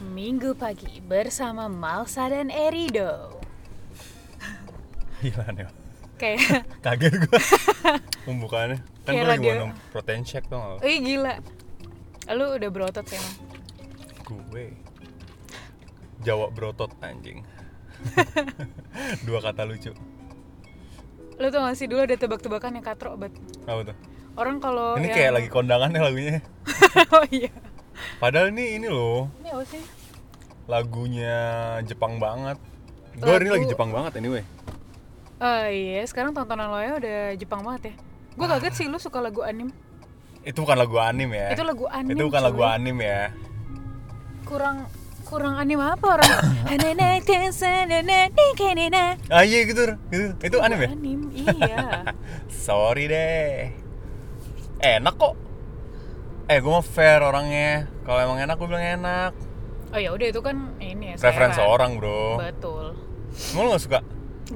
Minggu pagi bersama Malsa dan Erido. Gila nih, Kayak, ya? kaget gue pembukaannya. Kayak Kan gue lagi radio. mau nom- protein shake dong. wih gila. Lu udah berotot ya, Mang? Gue Jawa berotot anjing. Dua kata lucu. Lu tuh ngasih dulu ada tebak-tebakan yang katro banget. Apa tuh? Orang kalau ini yang... kayak lagi kondangan nih lagunya. oh iya. Padahal ini ini loh Ini apa sih? lagunya Jepang banget. Gue ini Lagu- lagi Jepang banget anyway. Oh iya, sekarang tontonan lo ya udah Jepang banget ya. Gue kaget sih lu suka lagu anime. Itu bukan lagu anim ya. Itu lagu anime. Itu bukan lagu cuy. anim ya. Kurang kurang anime apa orang? Hanana tensanana nikenena. Ah iya gitu, gitu. Itu anim ya? Anime, iya. Sorry deh. Enak kok. Eh, gue mau fair orangnya. Kalau emang enak, gue bilang enak. Oh ya udah itu kan ini ya. Preferensi selera. orang, bro. Betul. Emang lu gak suka?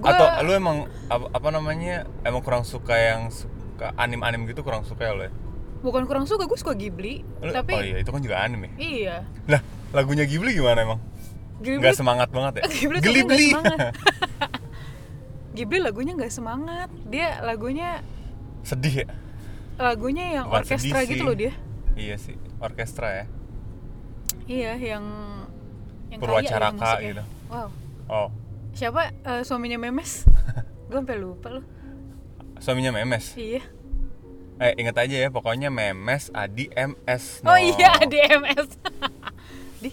Gua- Atau lu emang, apa, apa namanya, emang kurang suka yang suka anim-anim gitu kurang suka ya lu ya? Bukan kurang suka, gue suka Ghibli. Lu- tapi oh iya, itu kan juga anim ya? iya. Lah, lagunya Ghibli gimana emang? Ghibli, Gak semangat banget ya? Ghibli tuh gak Ghibli! semangat. Ghibli lagunya nggak semangat. Dia lagunya Sedih ya? lagunya yang Bukan orkestra sedih gitu sih. loh dia. Iya sih, orkestra ya? Iya, yang yang Purwacaraka kaya ya musiknya. gitu. Wow. Oh, Siapa eh, suaminya Memes? gue sampai lupa loh. suaminya Memes? Iya. Eh, inget aja ya, pokoknya Memes Adi MS Oh no. iya, DMS. Di.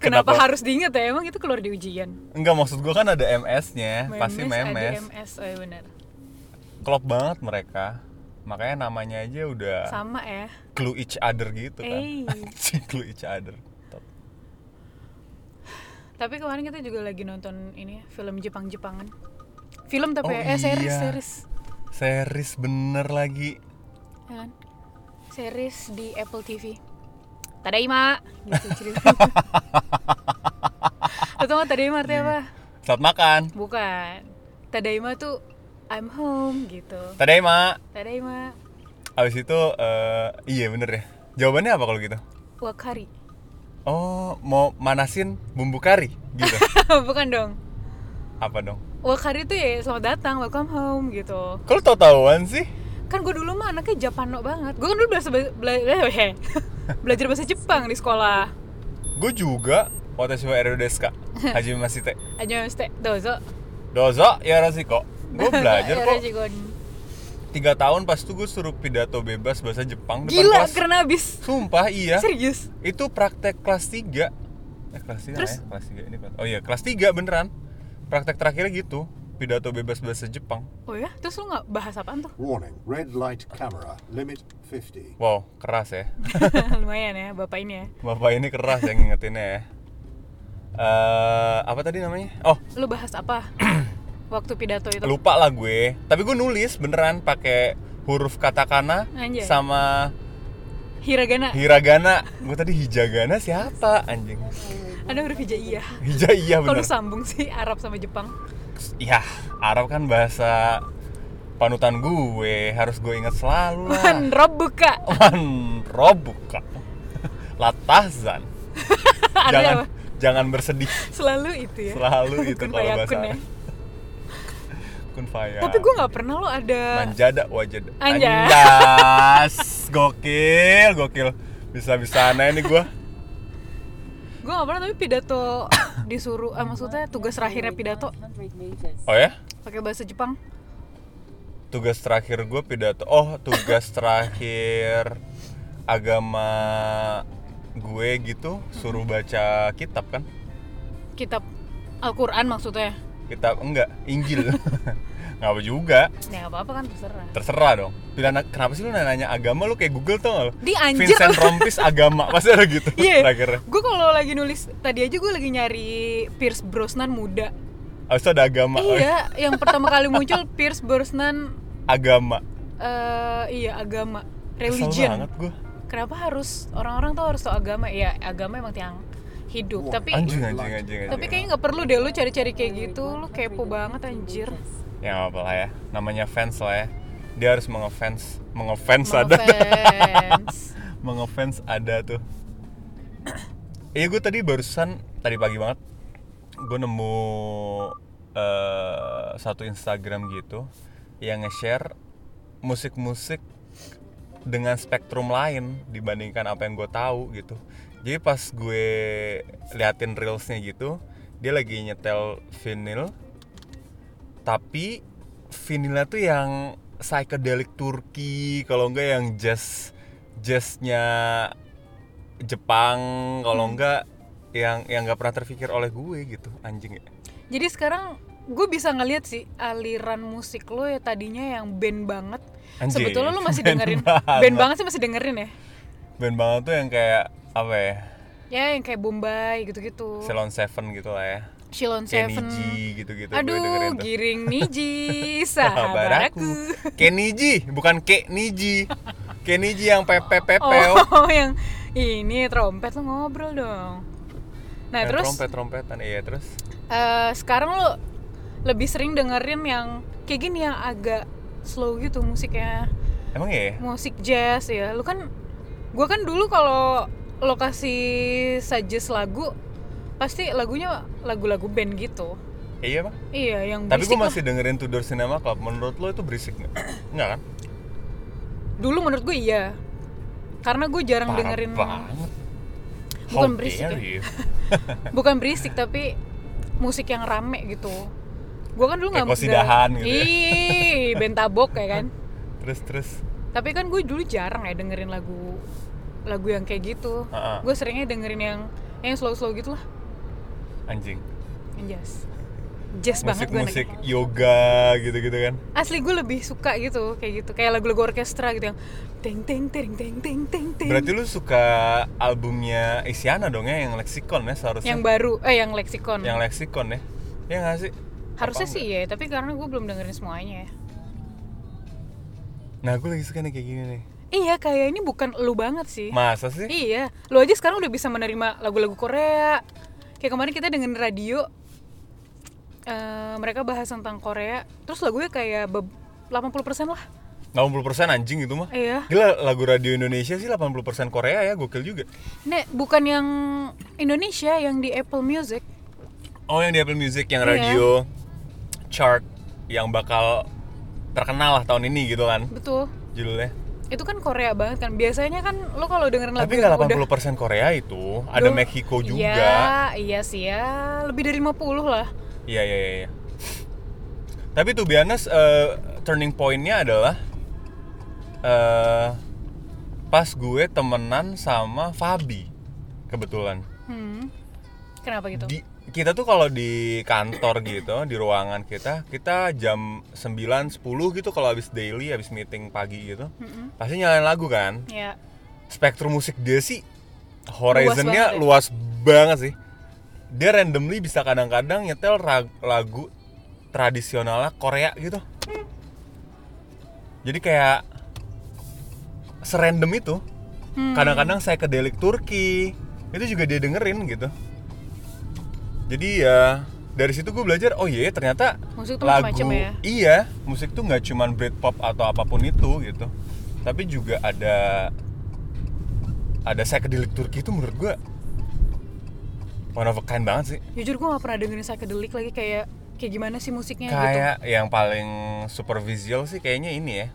Kenapa, Kenapa? harus diingat ya? Emang itu keluar di ujian. Enggak maksud gua kan ada MS-nya, pasti memes. ADMS. Oh iya benar. Klop banget mereka. Makanya namanya aja udah Sama ya. clue each other gitu kan. Eh. Anjing, clue each other. Top. Tapi kemarin kita juga lagi nonton ini ya, film Jepang-Jepangan. Film tapi Oh, ya, eh series iya. series. Series bener lagi. Ya kan? Series di Apple TV. Tadaima gitu cerita. Lo tau gak Tadaima artinya Iya. apa? Saat makan. Bukan. Tadaima tuh I'm home gitu. Tadaima. Tadaima Abis itu eh, iya bener ya. Jawabannya apa kalau gitu? wakari. Oh, mau manasin bumbu kari gitu. Bukan dong. apa dong? Wakari tuh ya selamat datang, welcome home gitu. Kalau tau-tauan sih. Kan gue dulu mah anaknya Japano banget. Gue kan dulu belajar belajar, belajar bahasa Jepang di sekolah. Gue juga Watashi wa Ero desu ka Hajime masite. Aja mesti dozo. Dozo yorosiko. Gue Ya belajar kok. Rajigon. tiga tahun pas itu gue suruh pidato bebas bahasa Jepang depan Gila, kelas. keren abis. Sumpah iya. Serius. Itu praktek kelas 3. Eh kelas 3 Terus? ya? Kelas 3 ini. kelas- Oh iya, kelas 3 beneran. Praktek terakhirnya gitu, pidato bebas bahasa Jepang. Oh ya, terus lu nggak bahas apaan tuh? Warning, red light camera, limit 50. Wow, keras ya. Lumayan ya, bapak ini ya. Bapak ini keras yang ngingetinnya ya. Eh, apa tadi namanya? Oh, Lu bahas apa? Waktu pidato itu. lupa lah gue. Tapi gue nulis beneran pakai huruf katakana Anjay. sama Hiragana. hiragana. Gue tadi hijagana siapa anjing? Ada huruf hija iya. Hija iya Kalau lu bener. sambung sih Arab sama Jepang. ya Arab kan bahasa panutan gue harus gue ingat selalu lah Kan Rob buka. man robuka latazan jangan Ada apa? jangan bersedih Selalu itu ya. selalu itu Kun kalau bahasa fayakun ya. Arab. Ya. kun faya Tapi gue nggak pernah lo ada manjada wajada Anjas. anjas gokil gokil bisa bisanya ini gue Gue gak pernah tapi pidato disuruh, eh, maksudnya tugas terakhirnya pidato oh ya pakai bahasa Jepang. tugas terakhir gue pidato oh tugas terakhir agama gue gitu suruh baca kitab kan Kitab Al-Quran maksudnya. kitab enggak Injil nggak apa juga Ya apa apa kan terserah. terserah dong pilihan kenapa sih lu nanya agama lu kayak Google tuh nggak lu Di anjir. Vincent Rompis agama pasti ada gitu Iya. terakhirnya Gue kalau lagi nulis tadi aja gue lagi nyari Pierce Brosnan muda. abis itu ada agama Iya, yang pertama kali muncul Pierce Brosnan agama eh iya agama, Kesel religion. banget gue Kenapa harus orang-orang tuh harus tau agama? Ya agama emang tiang hidup, Wah, tapi anjing anjing anjing anjing tapi kayaknya nggak perlu deh lu cari-cari kayak gitu, lu kepo banget anjir. ya nggak apa lah ya namanya fans lah ya dia harus mengefans mengefans ada Mengefans. mengefans ada tuh iya gue tadi barusan tadi pagi banget gue nemu eh, satu Instagram gitu yang nge-share musik-musik dengan spektrum lain dibandingkan apa yang gue tahu gitu jadi pas gue liatin reelsnya gitu dia lagi nyetel vinyl tapi vinilnya tuh yang psychedelic Turki kalau enggak yang jazz jazznya Jepang Hmm. kalau enggak yang yang nggak pernah terpikir oleh gue gitu anjing ya Jadi sekarang gue bisa ngeliat sih aliran musik lo ya tadinya yang band banget. Anjing, Sebetulnya lo masih band dengerin banget. band banget sih masih dengerin ya. band banget tuh yang kayak apa ya Ya yang kayak Bombay gitu-gitu. Ceylon Seven gitu lah ya Shilon Oh. Seven. Kenny G gitu-gitu gitu, gue Aduh, dengerin tuh. giring Niji, sahabat aku. Kenny G bukan Ke Niji Kenny G yang pepe pepeo Oh, yang ini trompet lo ngobrol dong. Nah, Yang terus trompet trompetan iya terus eh, sekarang lo lebih sering dengerin yang kayak gini yang agak slow gitu musiknya. emang ya musik jazz ya lu kan gua kan dulu kalau lokasi suggest lagu pasti lagunya lagu-lagu band gitu Eh, iya bang iya yang Tapi berisik gue lah. masih dengerin Tudor Cinema Club. Menurut lo itu berisik nggak? Nggak kan? dulu menurut gue iya karena gue jarang Parah dengerin banget. gitu. How bukan berisik dare ya. you. bukan berisik tapi musik yang rame gitu gua kan dulu Kayak nggak kosidahan nggak- gitu ya. ih bentabok ya kan Terus terus. tapi kan gue dulu jarang ya dengerin lagu lagu yang kayak gitu Ha-ha. gue seringnya dengerin yang yang slow-slow gitu lah Anjing. yang jazz jazz banget Musik gue musik yoga gitu gitu kan. asli gue lebih suka gitu kayak gitu kayak lagu-lagu orkestra gitu yang teng teng teng teng teng teng teng Berarti lu suka albumnya Isyana dong ya yang Lexicon ya seharusnya. yang baru eh yang leksikon Yang Lexicon ya. Ya nggak sih? harusnya Apa sih ya tapi karena gue belum dengerin semuanya ya nggak? Nah gue lagi suka nih kayak gini nih. iya kayak ini bukan lu banget sih Masa sih? iya lu aja sekarang udah bisa menerima lagu-lagu Korea kayak kemarin kita dengerin radio eh, mereka bahas tentang Korea terus lagunya kayak beb- 80% lah 80% anjing itu mah. iya Gila lagu radio Indonesia sih 80% Korea ya, gokil juga. Nek, bukan yang Indonesia yang di Apple Music Oh yang di Apple Music yang Iya. radio chart yang bakal terkenal lah tahun ini gitu kan betul judulnya. itu kan Korea banget kan biasanya kan lo kalau dengerin lagu Tapi nggak yang udah- 80 Korea itu, ada Duh, Meksiko juga. iya iya sih ya lebih dari 50 lah Iya iya iya. iya. Tapi tuh Bianas eh turning pointnya adalah eh pas gue temenan sama Fabi kebetulan. hmm. kenapa gitu Di- kita tuh kalau di kantor gitu, di ruangan kita, kita jam 9, 10 gitu kalau habis daily, habis meeting pagi gitu. Mm-mm. Pasti nyalain lagu kan? ya Spektrum musik dia sih horizonnya luas Luas banget, sih. Dia randomly bisa kadang-kadang nyetel ra- lagu tradisionalnya Korea gitu. Jadi kayak serandom itu. Hmm. Kadang-kadang saya ke Delik Turki. Itu juga dia dengerin gitu. Jadi ya dari situ gue belajar oh iya ternyata Musik tuh lagu macam-macam ya? iya musik tuh nggak cuman Britpop atau apapun itu gitu tapi juga ada ada psychedelic Turki itu menurut gue one of a kind banget sih jujur gue gak pernah dengerin psychedelic lagi kayak kayak gimana sih musiknya gitu. kayak yang paling super visual sih kayaknya ini ya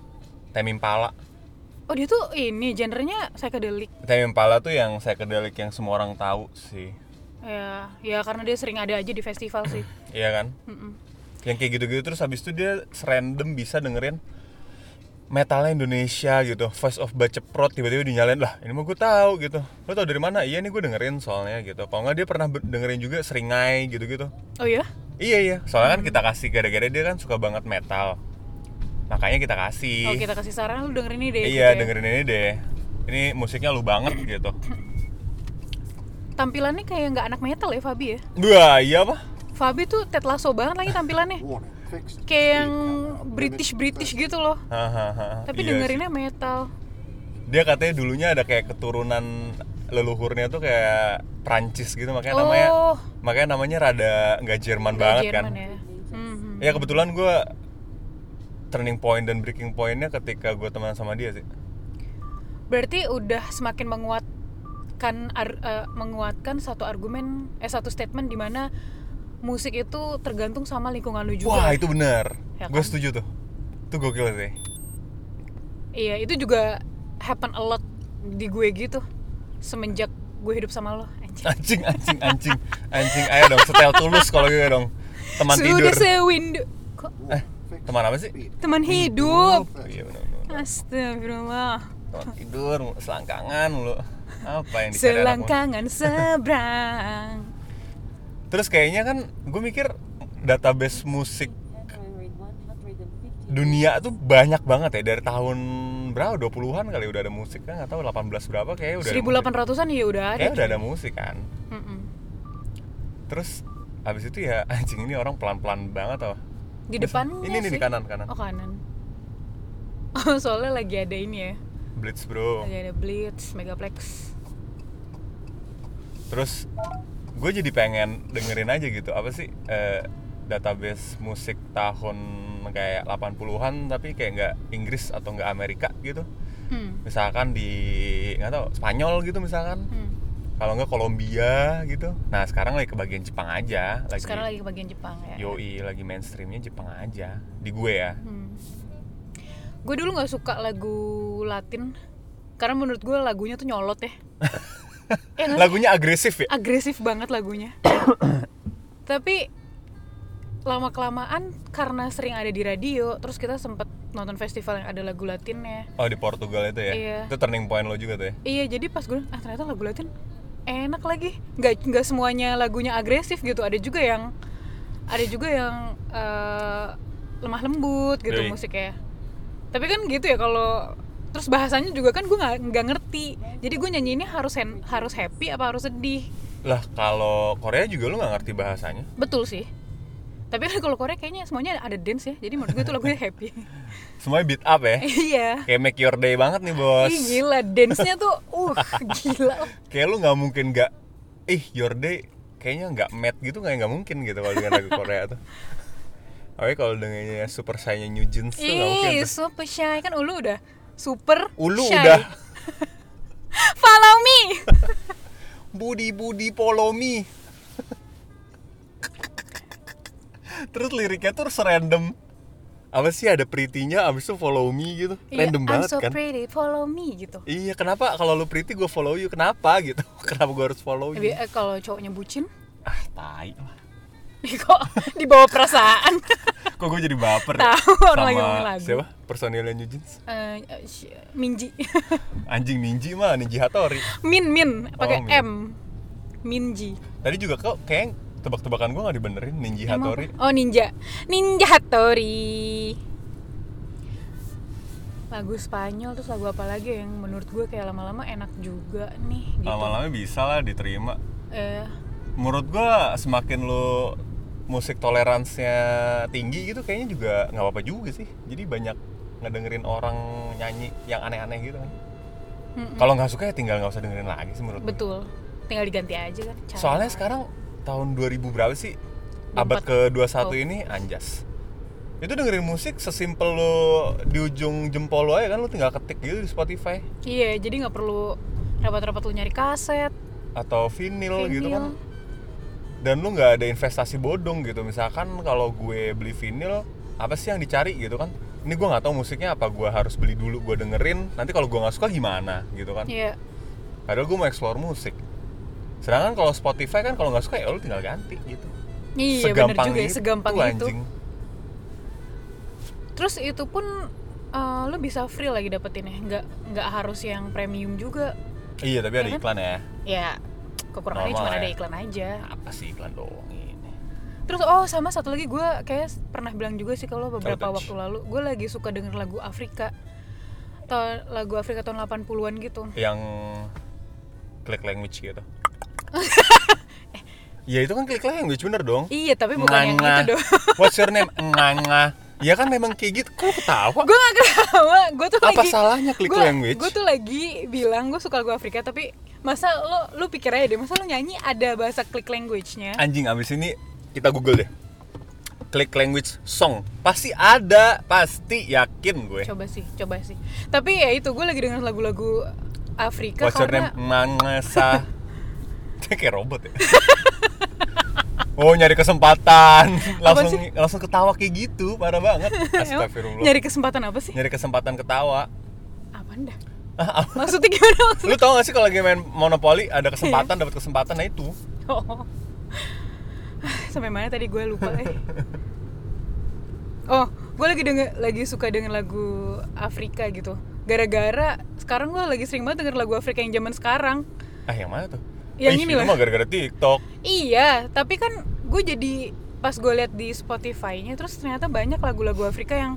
Tame Impala gitu oh dia tuh ini genrenya psychedelic Tame Impala tuh yang psychedelic yang semua orang tahu sih ya ya karena dia sering ada aja di festival sih iya kan Mm-mm. yang kayak gitu-gitu terus habis itu dia serandom bisa dengerin metalnya Indonesia gitu Voice of Baceprot tiba-tiba dinyalain lah ini mah gue tahu gitu lo tau dari mana iya nih gue dengerin soalnya gitu kalau nggak dia pernah ber- dengerin juga Seringai gitu-gitu oh ya Iya iya, soalnya kan kita kasih gara-gara dia kan suka banget metal. Makanya kita Oh kasih. kita kasih saran lu dengerin ini deh. Iya, gitu ya. dengerin ini deh. Ini musiknya lu banget gitu. Tampilannya kayak nggak anak metal ya Fabi ya. Wah, iya apa? Fabi tuh Ted Lasso banget lagi tampilannya. Warning, kayak fixed. speed yang camera, limit British British gitu loh. Hahaha. Tapi Iya sih. dengerinnya metal. Dia katanya dulunya ada kayak keturunan leluhurnya tuh kayak Prancis gitu makanya namanya Oh. makanya namanya rada nggak Jerman banget Jerman kan. ya. Mhm. Ya kebetulan gue turning point dan breaking pointnya ketika gue teman sama dia sih. Berarti udah semakin menguatkan ar- eh, menguatkan satu argumen eh satu statement di mana musik itu tergantung sama lingkungan lu juga. Wah itu benar. Ya Gue kan? setuju tuh. Itu gokil sih. Iya, itu juga happen a lot di gue gitu semenjak gue hidup sama lo. Anjing. Anjing, anjing, anjing, anjing. Ayo dong, setel tulus kalau gitu dong. Teman Sudah tidur. sewindu. Kok warning, fixed Teman apa sih? speed. teman hidup? Oh, Iya benar. benar. Astagfirullah. Teman tidur, mulu, selangkangan mulu. Apa yang dicari anak muda? Selangkangan seberang. Terus kayaknya kan gue mikir database musik dunia tuh banyak banget ya dari tahun berapa 20-an kali udah ada musik kan nggak tahu 18 berapa kayak udah ada musik. 1800-an ya udah ada. Kayaknya udah ada musik kan Mm-mm. terus habis itu ya anjing ini orang pelan-pelan banget tau Di Terus, depan ini nggak nih di sih? kanan kanan Oh kanan. Oh soalnya lagi ada ini ya. blitz bro Lagi ada Blitz, Megaplex. terus gue jadi pengen dengerin aja gitu apa sih eh, database musik tahun kayak 80-an tapi kayak nggak Inggris atau nggak Amerika gitu Hmm. misalkan di nggak tahu Spanyol gitu misalkan hmm. kalau nggak Kolombia gitu nah sekarang lagi ke bagian Jepang aja lagi, Sekarang lagi ke bagian Jepang ya. yoi lagi mainstreamnya Jepang aja di gue ya Hmm. Gue dulu nggak suka lagu Latin karena menurut gue lagunya tuh nyolot ya. Ya nggak sih? lagunya agresif ya agresif banget lagunya. Tapi lama kelamaan karena sering ada di radio, terus kita sempet nonton festival yang ada lagu Latinnya. oh di Portugal itu ya Iya. itu turning point lo juga tuh ya Iya, jadi pas gue ah ternyata lagu Latin enak lagi. Nggak nggak semuanya lagunya agresif gitu. Ada juga yang ada juga yang eh, lemah lembut gitu Yoi. musiknya. Tapi kan gitu ya kalau terus bahasanya juga kan gue nggak nggak ngerti. Jadi gue nyanyiinnya harus hen- harus happy apa harus sedih? lah kalau Korea juga lo nggak ngerti bahasanya Betul sih. Tapi kan kalau Korea kayaknya semuanya ada dance ya. Jadi menurut gue itu lagunya happy. semuanya beat up ya iya. kayak make your day banget nih bos Ih gila, dance-nya tuh uh gila. kayak lu nggak mungkin nggak ih your day kayaknya nggak met gitu kayak nggak mungkin gitu kalau dengan lagu Korea tuh Oke kalau dengannya Super Saiyan New Jeans tuh nggak mungkin Ih, tuh. super shy kan Ulu udah super Ulu shy. udah Follow me. budi budi polomi Terus liriknya tuh terus random Apa sih ada pretty-nya abis itu follow me gitu Iya, Random banget I'm so kan pretty, follow me gitu. Iya kenapa kalau lu pretty gue follow you kenapa gitu Kenapa gue harus follow Tapi you eh, kalau cowoknya bucin, Ah tai lah ih, kok dibawa perasaan. Kok gue jadi baper ya? Tahu, orang lagi Sama ngomongin lagu. Siapa? Personilnya New Jeans? Eh, eh, sh- Minji. Anjing Ninji mah, Ninji Hattori Min Min pakai Oh, Min. M. Minji. Tadi juga kok kayak tebak-tebakan gue gak dibenerin Ninji Emang Hattori apa? Oh ninja, ninja Hattori. Lagu Spanyol terus lagu apa lagi yang menurut gue kayak lama-lama enak juga nih. Gitu. Lama-lama bisa lah diterima Eh, Menurut gue semakin lo musik toleransinya tinggi gitu kayaknya juga nggak apa-apa juga sih Jadi banyak ngedengerin orang nyanyi yang aneh-aneh gitu kan Mm-mm. Kalau nggak suka ya tinggal nggak usah dengerin lagi sih menurut gue betul. Tinggal diganti aja kan. cara. Soalnya sekarang tahun 2000 berapa sih? 24. Abad ke-21 Oh. ini anjas. Itu dengerin musik sesimpel lo di ujung jempol lo aja kan lo tinggal ketik gitu di Spotify Iya, jadi nggak perlu rapat-rapat lu nyari kaset. atau vinil, gitu Vinyl. kan. Dan lu nggak ada investasi bodong gitu. Misalkan kalau gue beli vinil, apa sih yang dicari gitu kan? Ini gue nggak tahu musiknya apa gue harus beli dulu gue dengerin. Nanti kalau gue nggak suka gimana gitu kan? Iya. Padahal gue mau explore musik. Sedangkan kalau Spotify kan kalau nggak suka ya lo tinggal ganti gitu. Iya, bener segampang juga ya, itu, segampang itu. anjing. Terus itu pun eh, lu bisa free lagi dapetinnya, nggak nggak harus yang premium juga. Iya tapi ada Ya kan? iklan ya. Ya kekurangannya Normal cuma ya. ada iklan aja. Apa sih iklan doang ini? Terus oh sama satu lagi gue kayak pernah bilang juga sih kalau beberapa Touch. waktu lalu gue lagi suka denger lagu Afrika. Ta- lagu Afrika tahun 80-an gitu. yang click language gitu ya itu kan click language bener dong Iya, tapi bukan yang Nganga. itu dong. what's your name nganga ya kan memang kayak gitu kok ketawa gue gak ketawa, gue tuh Apa lagi salahnya click language? Gue tuh lagi bilang gue suka lagu Afrika tapi masa lo lu pikir aja deh, masa lo nyanyi ada bahasa click language-nya? anjing abis ini kita google deh click language song pasti ada pasti yakin gue Coba sih, coba sih. Tapi ya itu gue lagi denger lagu-lagu Afrika What's your karena name? Mangsa. Dia kayak robot ya. oh nyari kesempatan, langsung sih? langsung ketawa kayak gitu, parah banget. Emang Astagfirullah. nyari Nyari, kesempatan apa sih? kesempatan ketawa. Apaan dah? Ah, apa? Maksudnya gimana maksudnya? Lu tau gak sih kalau lagi main monopoli ada kesempatan Iya. dapat kesempatan nah itu. Oh. Sampai mana tadi gue lupa eh. Oh, gue lagi denger, lagi suka denger lagu Afrika gitu. Gara-gara sekarang gue lagi sering banget denger lagu Afrika yang zaman sekarang. Ah yang mana tuh? Yang Ih, ini itu lah. mah gara-gara TikTok. Iya, tapi kan gue jadi pas gue lihat di Spotify-nya terus ternyata banyak lagu-lagu Afrika yang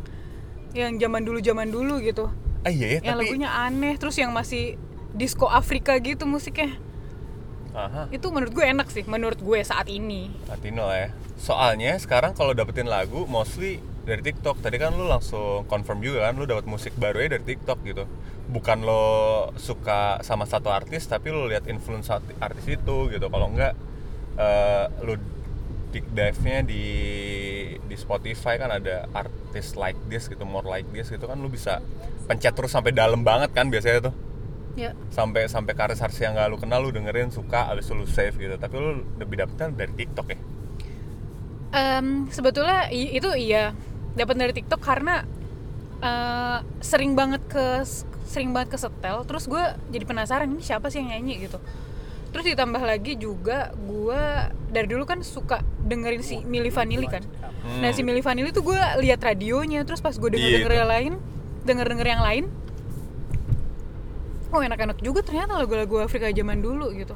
yang zaman dulu zaman dulu gitu. Ah iya ya, yang tapi lagunya aneh, terus yang masih disco Afrika gitu musiknya. Aha, Itu menurut gue enak sih, menurut gue saat ini. Latino lah ya. Soalnya sekarang kalau dapetin lagu mostly dari TikTok. Tadi kan lu langsung confirm juga kan lu dapat musik baru ya dari TikTok gitu. Bukan lo suka sama satu artis tapi lu lihat influence arti- artis itu gitu. Kalau enggak eh, lu deep dive-nya di di Spotify kan ada artis like this gitu, more like this gitu kan lu bisa pencet terus sampai dalam banget kan biasanya tuh Ya. sampai sampai karir artis yang gak lu kenal lu dengerin suka abis itu lu save gitu tapi lu lebih dapetnya dari TikTok ya sebetulnya i- itu iya dapat dari TikTok karena eh, sering banget ke sering banget ke setel terus gue jadi penasaran ini siapa sih yang nyanyi gitu terus ditambah lagi juga gue dari dulu kan suka dengerin si Milli Vanilli kan nah si Milli Vanilli tuh gue lihat radionya terus pas gue denger denger Hmm. Iya, itu. yang lain denger denger yang lain oh enak-enak juga ternyata lagu-lagu Afrika zaman dulu gitu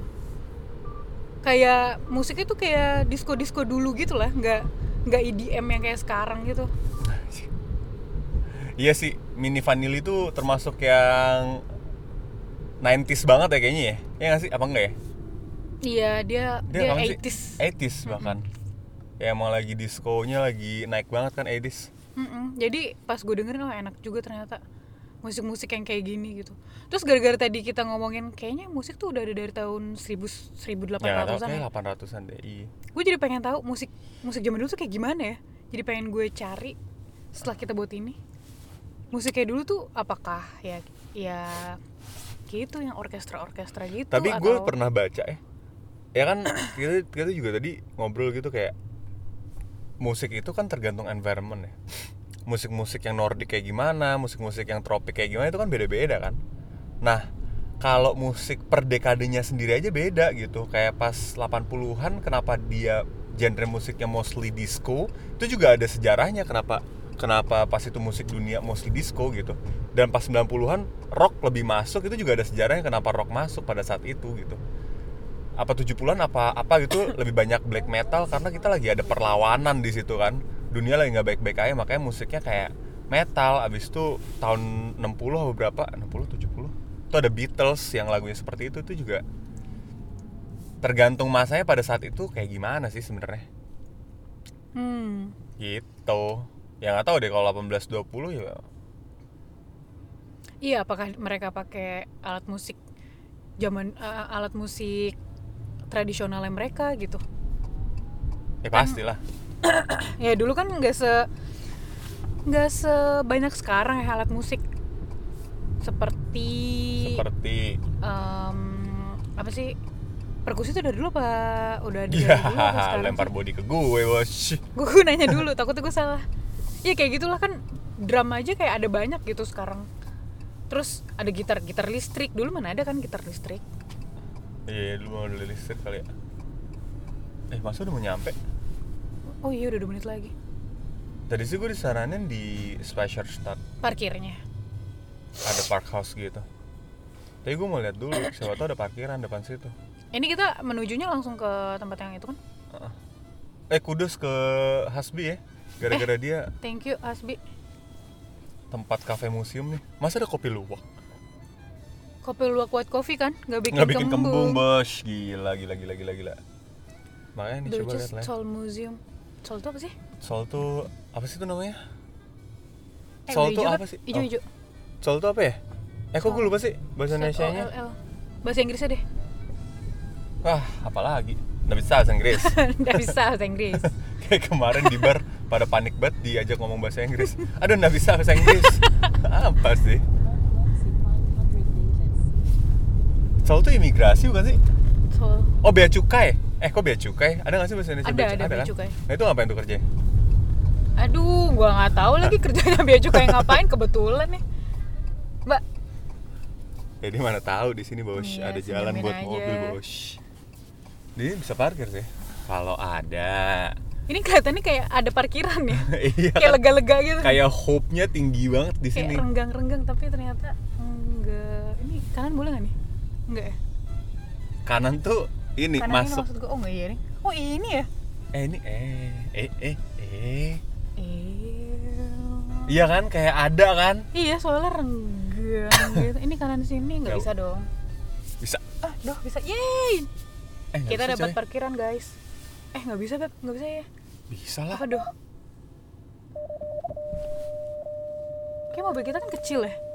kayak musiknya tuh kayak disco-disco dulu gitu lah nggak nggak EDM yang kayak sekarang gitu Iya sih, Mini Vanilli itu termasuk yang 90s banget ya kayaknya ya. Iya nggak sih? Apa enggak ya? iya dia dia, kapan sih? Eh? 80s 80s bahkan. Ya emang lagi diskonya lagi naik banget kan 80s. Mm-mm. jadi pas gue dengerin oh enak juga ternyata musik-musik yang kayak gini gitu terus gara-gara tadi kita ngomongin kayaknya musik tuh udah ada dari tahun 1000 Ya nggak tahu 1800-an ya kayak 800-an deh. Iya. gue jadi pengen tahu musik musik zaman dulu tuh kayak gimana ya jadi pengen gue cari setelah kita buat ini musik kayak dulu tuh apakah ya ya gitu yang orkestra-orkestra gitu Tapi gue atau- pernah baca ya. Ya kan kita, kita juga tadi ngobrol gitu kayak musik itu kan tergantung environment ya. Musik-musik yang Nordic kayak gimana, musik-musik yang tropik kayak gimana itu kan beda-beda kan. Nah, kalau musik per dekadenya sendiri aja beda gitu. Kayak pas 80-an kenapa dia genre musiknya mostly disco, itu juga ada sejarahnya kenapa kenapa pas itu musik dunia mostly disco gitu. Dan pas 90-an rock lebih masuk itu juga ada sejarahnya kenapa rock masuk pada saat itu gitu apa 70-an apa apa gitu lebih banyak black metal karena kita lagi ada perlawanan di situ kan. Dunia lagi nggak baik-baik aja makanya musiknya kayak metal abis itu tahun 60 atau berapa 60 70 itu ada Beatles yang lagunya seperti itu itu juga tergantung masanya pada saat itu kayak gimana sih sebenarnya Hmm. gitu ya nggak tahu deh kalau 1820 ya Iya, apakah mereka pakai alat musik zaman a- alat musik tradisionalnya mereka gitu? ya pastilah Ya dulu kan nggak se nggak sebanyak sekarang ya alat musik seperti, seperti em, apa sih perkusi itu dari dulu apa udah ada dari dia dulu apa sekarang Iya, lempar sih? body ke gue bos gue nanya dulu takutnya gue salah ya kayak gitulah kan drum aja kayak ada banyak gitu sekarang terus ada gitar gitar listrik dulu mana ada kan gitar listrik Iya, lu mau udah listrik kali ya. Eh, masa udah mau nyampe? oh iya udah 2 menit lagi Tadi sih gue disaranin di Splasher Start, parkirnya ada park house gitu. Tapi gue mau lihat dulu, siapa tau ada parkiran depan situ. ini kita menujunya langsung ke tempat yang itu kan Heeh. eh kudus ke Hasbi ya Eh. gara-gara dia Thank you Asbi. tempat kafe museum nih masa ada kopi luwak Kopi luwak white coffee kan? Gak bikin, nggak bikin kembung bos gila gila gila gila gila makanya nih coba Dutchess lihat lah ya. Soul Museum. Soul itu apa sih? Soul tuh apa sih itu namanya Eh, Soul udah tuh hijau apa kan? sih Oh, Ijo-ijo. Soul tuh apa ya eh kok gue lupa sih bahasa Indonesia nya ZOLL. Bahasa Inggrisnya deh. wah apalagi nggak bisa bahasa Inggris Nggak bisa bahasa Inggris. kayak kemarin di bar pada panik banget diajak ngomong bahasa Inggris aduh nggak bisa bahasa Inggris apa sih Soal tuh imigrasi bukan sih? Soul. Oh bea cukai. Eh kok bea cukai? Ada nggak sih bahasa Indonesia? Ada, cu- ada bea cukai. Nah, itu ngapain tuh kerjanya? Aduh, gua nggak tahu lagi kerjanya bea cukai ngapain kebetulan nih. Mbak, Jadi Ya, mana tahu di sini bos Iya, ada jalan senyumin buat aja. mobil bos. Dia bisa parkir sih. Kalau ada. ini kelihatannya kayak ada parkiran ya. iya. kayak lega-lega gitu. Kayak hope-nya tinggi banget di Kayak sini. renggang-renggang tapi ternyata enggak. Ini kanan boleh nggak nih? Enggak ya? Kanan tuh ini kanan masuk. ini maksud gua. Oh enggak iya nih. Oh ini ya. Eh ini eh eh eh eh. Eh. Iya kan kayak ada kan? Iya, soalnya renggang gitu. Ini kanan sini nggak Nggak. bisa dong. Bisa. Ah, doh bisa. Yeay! Eh, nggak Kita bisa, dapat coy. parkiran, guys. Eh, nggak bisa, Beb. Nggak bisa ya. Bisa lah. Apa doh? Kayak mobil kita kan kecil ya.